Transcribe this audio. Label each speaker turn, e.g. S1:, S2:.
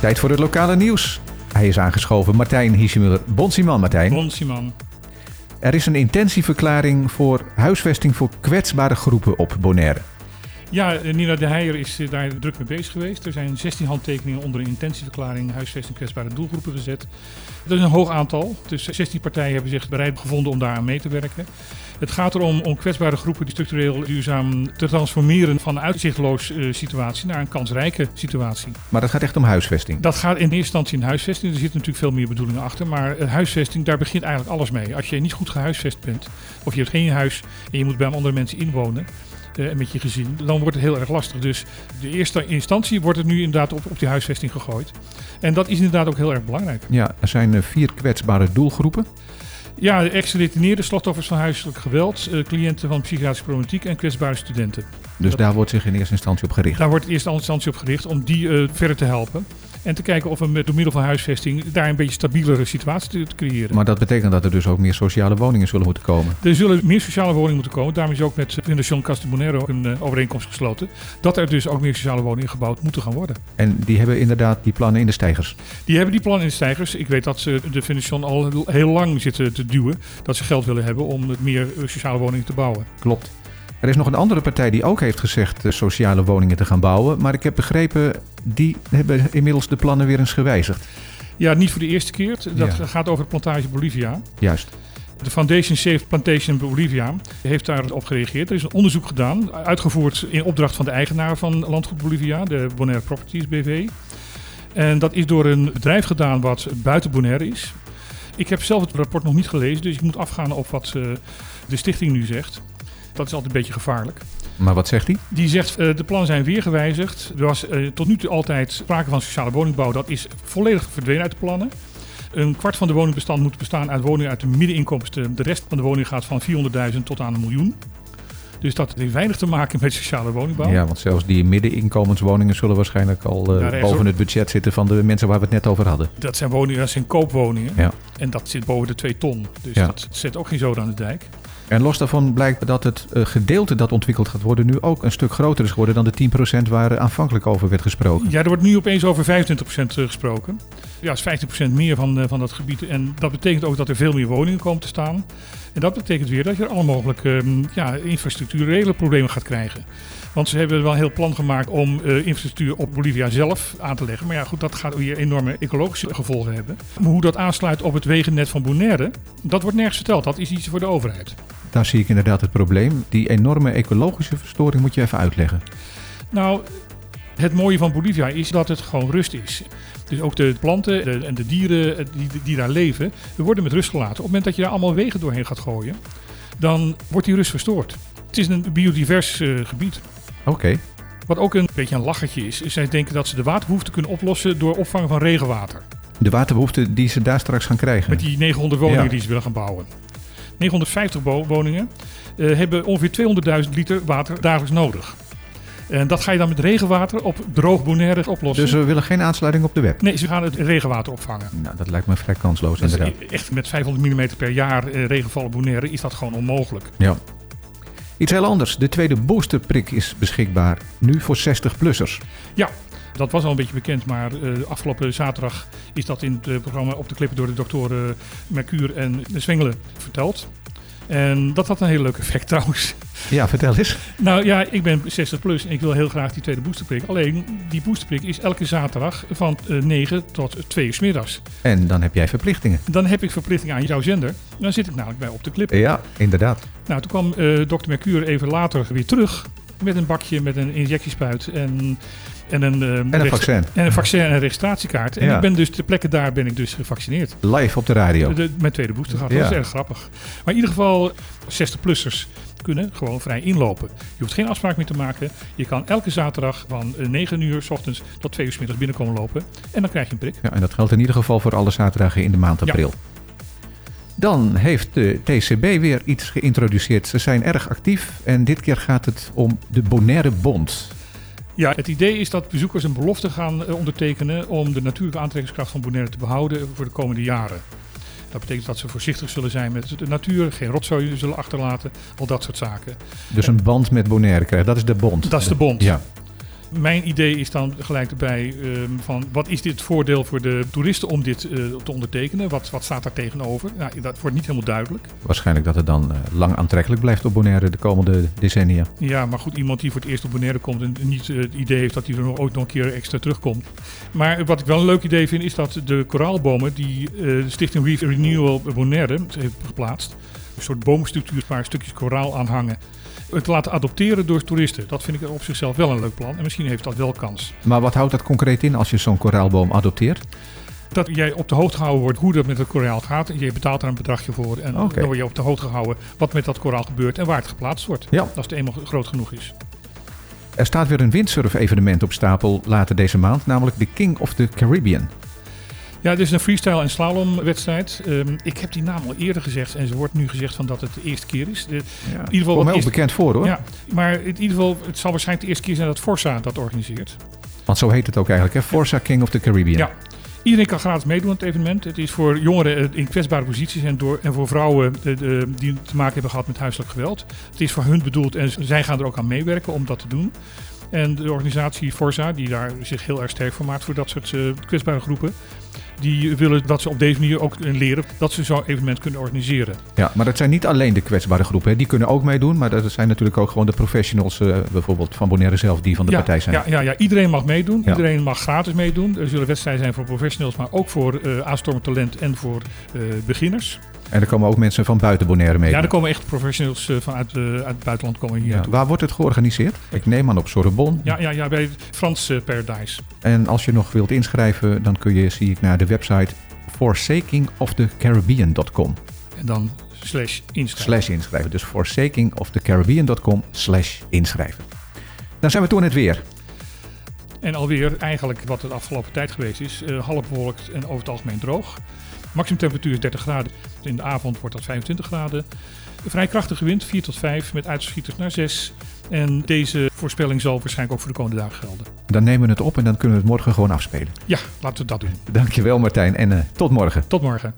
S1: Tijd voor het lokale nieuws. Hij is aangeschoven, Martijn Hiesemuller. Bonsiman, Martijn.
S2: Bonsiman.
S1: Er is een intentieverklaring voor huisvesting voor kwetsbare groepen op Bonaire.
S2: Ja, eh, Nina de Heijer is eh, daar druk mee bezig geweest. Er zijn 16 handtekeningen onder een intentieverklaring huisvesting kwetsbare doelgroepen gezet. Dat is een hoog aantal. Dus 16 partijen hebben zich bereid gevonden om daaraan mee te werken. Het gaat erom om kwetsbare groepen die structureel duurzaam te transformeren van een uitzichtloos eh, situatie naar een kansrijke situatie.
S1: Maar dat gaat echt om huisvesting.
S2: Dat gaat in eerste instantie in huisvesting. Er zitten natuurlijk veel meer bedoelingen achter. Maar eh, huisvesting, daar begint eigenlijk alles mee. Als je niet goed gehuisvest bent, of je hebt geen huis en je moet bij andere mensen inwonen. eh, en met je gezin, dan wordt het heel erg lastig. Dus de eerste instantie wordt het nu inderdaad op, op die huisvesting gegooid. En dat is inderdaad ook heel erg belangrijk.
S1: Ja, er zijn eh, vier kwetsbare doelgroepen.
S2: Ja, de ex-gedetineerden, slachtoffers van huiselijk geweld, eh, cliënten van psychiatrische problematiek en kwetsbare studenten.
S1: Dus
S2: Dat-
S1: daar wordt zich in eerste instantie op gericht.
S2: Daar wordt eerst instantie op gericht om die eh, verder te helpen. En te kijken of we met, door middel van huisvesting daar een beetje stabielere situatie te, te creëren.
S1: Maar dat betekent dat er dus ook meer sociale woningen zullen moeten komen.
S2: Er zullen meer sociale woningen moeten komen. Daarom is ook met Fundación Castelbonero een eh, overeenkomst gesloten. Dat er dus ook meer sociale woningen gebouwd moeten gaan worden.
S1: En die hebben inderdaad die plannen in de stijgers.
S2: Die hebben die plannen in de stijgers. Ik weet dat ze de Fundación al heel lang zitten te duwen. Dat ze geld willen hebben om meer eh, sociale woningen te bouwen.
S1: Klopt. Er is nog een andere partij die ook heeft gezegd eh, sociale woningen te gaan bouwen. Maar ik heb begrepen, die hebben inmiddels de plannen weer eens gewijzigd.
S2: Ja, niet voor de eerste keer. Dat
S1: Ja.
S2: gaat over plantage Bolivia.
S1: Juist.
S2: De Foundation Safe Plantation Bolivia heeft daarop gereageerd. Er is een onderzoek gedaan, uitgevoerd in opdracht van de eigenaar van Landgoed Bolivia, de Bonaire Properties BV. En dat is door een bedrijf gedaan wat buiten Bonaire is. Ik heb zelf het rapport nog niet gelezen, dus ik moet afgaan op wat eh, de stichting nu zegt. Dat is altijd een beetje gevaarlijk.
S1: Maar wat zegt hij?
S2: Die zegt, eh, de plannen zijn weer gewijzigd. Er was eh, tot nu toe altijd sprake van sociale woningbouw. Dat is volledig verdwenen uit de plannen. Een kwart van de woningbestand moet bestaan uit woningen uit de middeninkomsten. De rest van de woning gaat van 400.000 tot aan een miljoen. Dus dat heeft weinig te maken met sociale woningbouw.
S1: Ja, want zelfs die middeninkomenswoningen zullen waarschijnlijk al eh,
S2: Nou, Daar is
S1: boven
S2: ook-
S1: het budget zitten van de mensen waar we het net over hadden.
S2: Dat zijn woningen, dat zijn koopwoningen.
S1: Ja.
S2: En dat zit boven de 2 ton. Dus
S1: Ja.
S2: dat zet ook geen zoden aan de dijk.
S1: En los daarvan blijkt dat het eh, gedeelte dat ontwikkeld gaat worden nu ook een stuk groter is geworden dan de 10% waar eh, aanvankelijk over werd gesproken.
S2: Ja, er wordt nu opeens over 25% gesproken. Ja, dat is 15% meer van, eh, van dat gebied. En dat betekent ook dat er veel meer woningen komen te staan. En dat betekent weer dat je alle mogelijke ehm, ja, infrastructurele problemen gaat krijgen. Want ze hebben wel een heel plan gemaakt om eh, infrastructuur op Bolivia zelf aan te leggen. Maar ja, goed, dat gaat weer enorme ecologische gevolgen hebben. Maar hoe dat aansluit op het wegennet van Bonaire, dat wordt nergens verteld. Dat is iets voor de overheid.
S1: Daar zie ik inderdaad het probleem. Die enorme ecologische verstoring moet je even uitleggen.
S2: Nou, het mooie van Bolivia is dat het gewoon rust is. Dus ook de planten de- en de dieren eh, die, die daar leven, die worden met rust gelaten. Op het moment dat je daar allemaal wegen doorheen gaat gooien, dan wordt die rust verstoord. Het is een biodivers eh, gebied.
S1: Oké,
S2: Wat ook een beetje een lachertje is, is zij denken dat ze de waterbehoefte kunnen oplossen door opvangen van regenwater.
S1: de waterbehoeften die ze daar straks gaan krijgen.
S2: Met die 900 woningen
S1: Ja.
S2: die ze willen gaan bouwen. 950 bo- woningen eh, hebben ongeveer 200.000 liter water dagelijks nodig. En dat ga je dan met regenwater op droog Bonaire oplossen.
S1: Dus we willen geen aansluiting op de web.
S2: Nee, ze gaan het regenwater opvangen.
S1: Nou, dat lijkt me vrij kansloos
S2: Dat is
S1: inderdaad.
S2: e- echt met 500 mm per jaar eh, regenval op Bonaire is dat gewoon onmogelijk.
S1: Ja. Iets heel anders. De tweede boosterprik is beschikbaar. Nu voor 60-plussers.
S2: Dat was al een beetje bekend, maar eh, afgelopen zaterdag is dat in het eh, programma Op de Klippen door de doktoren Mercuur en de Zwengelen verteld. En dat had een heel leuk effect trouwens.
S1: Ja, vertel eens.
S2: Nou ja, ik ben 60 plus en ik wil heel graag die tweede boosterprik. Alleen die boosterprik is elke zaterdag van eh, 9 tot 2 uur 's middags.
S1: En dan heb jij verplichtingen.
S2: Dan heb ik verplichting aan jouw zender. Dan zit ik namelijk bij Op de Klippen.
S1: Ja, inderdaad.
S2: Nou, toen kwam eh dokter Mercure even later weer terug met een bakje met een injectiespuit en, en een... eh,
S1: En een
S2: registra-
S1: vaccin.
S2: En een vaccin en een registratiekaart. En
S1: Ja.
S2: ik ben dus ter plekke daar ben ik dus gevaccineerd.
S1: Live op de radio.
S2: De, mijn tweede booster gehad. Dat
S1: Ja.
S2: is erg grappig. Maar in ieder geval, 60-plussers kunnen gewoon vrij inlopen. Je hoeft geen afspraak meer te maken. Je kan elke zaterdag van eh, 9 uur s ochtends tot 2 uur s middags binnenkomen lopen. En dan krijg je een prik.
S1: Ja, en dat geldt in ieder geval voor alle zaterdagen in de maand
S2: Ja.
S1: april. Dan heeft de TCB weer iets geïntroduceerd. Ze zijn erg actief en dit keer gaat het om de Bonaire Bond.
S2: Ja, het idee is dat bezoekers een belofte gaan eh, ondertekenen om de natuurlijke aantrekkingskracht van Bonaire te behouden voor de komende jaren. Dat betekent dat ze voorzichtig zullen zijn met de natuur, geen rotzooi zullen achterlaten, al dat soort zaken.
S1: Dus een band met Bonaire krijgen, dat is de Bond.
S2: Dat is de bond.
S1: Ja,
S2: Mijn idee is dan gelijk erbij ehm, van wat is dit voordeel voor de toeristen om dit eh, te ondertekenen? Wat, wat staat daar tegenover? Nou, dat wordt niet helemaal duidelijk.
S1: Waarschijnlijk dat het dan eh, lang aantrekkelijk blijft op Bonaire de komende decennia.
S2: Ja, maar goed, iemand die voor het eerst op Bonaire komt en niet eh, het idee heeft dat hij er nog, ooit nog een keer extra terugkomt. Maar wat ik wel een leuk idee vind is dat de koraalbomen die eh, de Stichting Reef Renewal Bonaire heeft geplaatst, een soort boomstructuur waar stukjes koraal aan hangen, het laten adopteren door toeristen. Dat vind ik op zichzelf wel een leuk plan en misschien heeft dat wel kans.
S1: Maar wat houdt dat concreet in als je zo'n koraalboom adopteert?
S2: dat jij op de hoogte gehouden wordt hoe dat met het koraal gaat. Je betaalt daar een bedragje voor en
S1: Oké.
S2: dan word je op de hoogte gehouden wat met dat koraal gebeurt en waar het geplaatst wordt.
S1: Ja.
S2: Als het eenmaal groot genoeg is.
S1: Er staat weer een windsurf-evenement op stapel later deze maand, namelijk de King of the Caribbean.
S2: Ja, het is een freestyle en slalomwedstrijd. Ehm, ik heb die naam al eerder gezegd en ze wordt nu gezegd van dat het de eerste keer is. De-
S1: Ja, in
S2: ieder geval wat
S1: heel
S2: is-
S1: bekend voor hoor.
S2: ja, maar in ieder geval, het zal waarschijnlijk de eerste keer zijn dat Forza dat organiseert.
S1: Want zo heet het ook eigenlijk, hè? Forza King of the Caribbean.
S2: Ja. Iedereen kan gratis meedoen aan het evenement. Het is voor jongeren eh, in kwetsbare posities en, door, en voor vrouwen eh, de- die te maken hebben gehad met huiselijk geweld. Het is voor hun bedoeld en z- zij gaan er ook aan meewerken om dat te doen. En de organisatie Forza, die daar zich heel erg sterk voor maakt voor dat soort eh, kwetsbare groepen, die willen dat ze op deze manier ook eh, leren dat ze zo'n evenement kunnen organiseren.
S1: Ja, maar dat zijn niet alleen de kwetsbare groepen. Hè. Die kunnen ook meedoen, maar dat zijn natuurlijk ook gewoon de professionals, eh, bijvoorbeeld van Bonaire zelf, die van de
S2: ja,
S1: partij zijn.
S2: Ja, ja, ja, iedereen mag meedoen.
S1: Ja.
S2: Iedereen mag gratis meedoen. Er zullen wedstrijden zijn voor professionals, maar ook voor eh aanstormend talent en voor eh, beginners.
S1: En er komen ook mensen van buiten Bonaire mee.
S2: Ja, er komen echt professionals eh, vanuit eh, uit het buitenland komen hier
S1: Ja,
S2: naartoe.
S1: Waar wordt het georganiseerd? Ik neem aan op Sorbonne.
S2: Ja, ja, ja, bij het Frans eh, Paradise.
S1: En als je nog wilt inschrijven, dan kun je, zie ik, naar de website forsakingofthecaribbean.com
S2: En dan slash inschrijven.
S1: slash inschrijven. Dus forsakingofthecaribbean.com slash inschrijven. Dan zijn we toen het weer.
S2: En alweer eigenlijk wat het afgelopen tijd geweest is. eh half bewolkt en over het algemeen droog. Maximum temperatuur is 30 graden. In de avond wordt dat 25 graden. Een Vrij krachtige wind, 4 tot 5, met uitschieters naar 6. En deze voorspelling zal waarschijnlijk ook voor de komende dagen gelden.
S1: Dan nemen we het op en dan kunnen we het morgen gewoon afspelen.
S2: Ja, laten we dat doen.
S1: Dankjewel Martijn en eh, tot morgen.
S2: Tot morgen.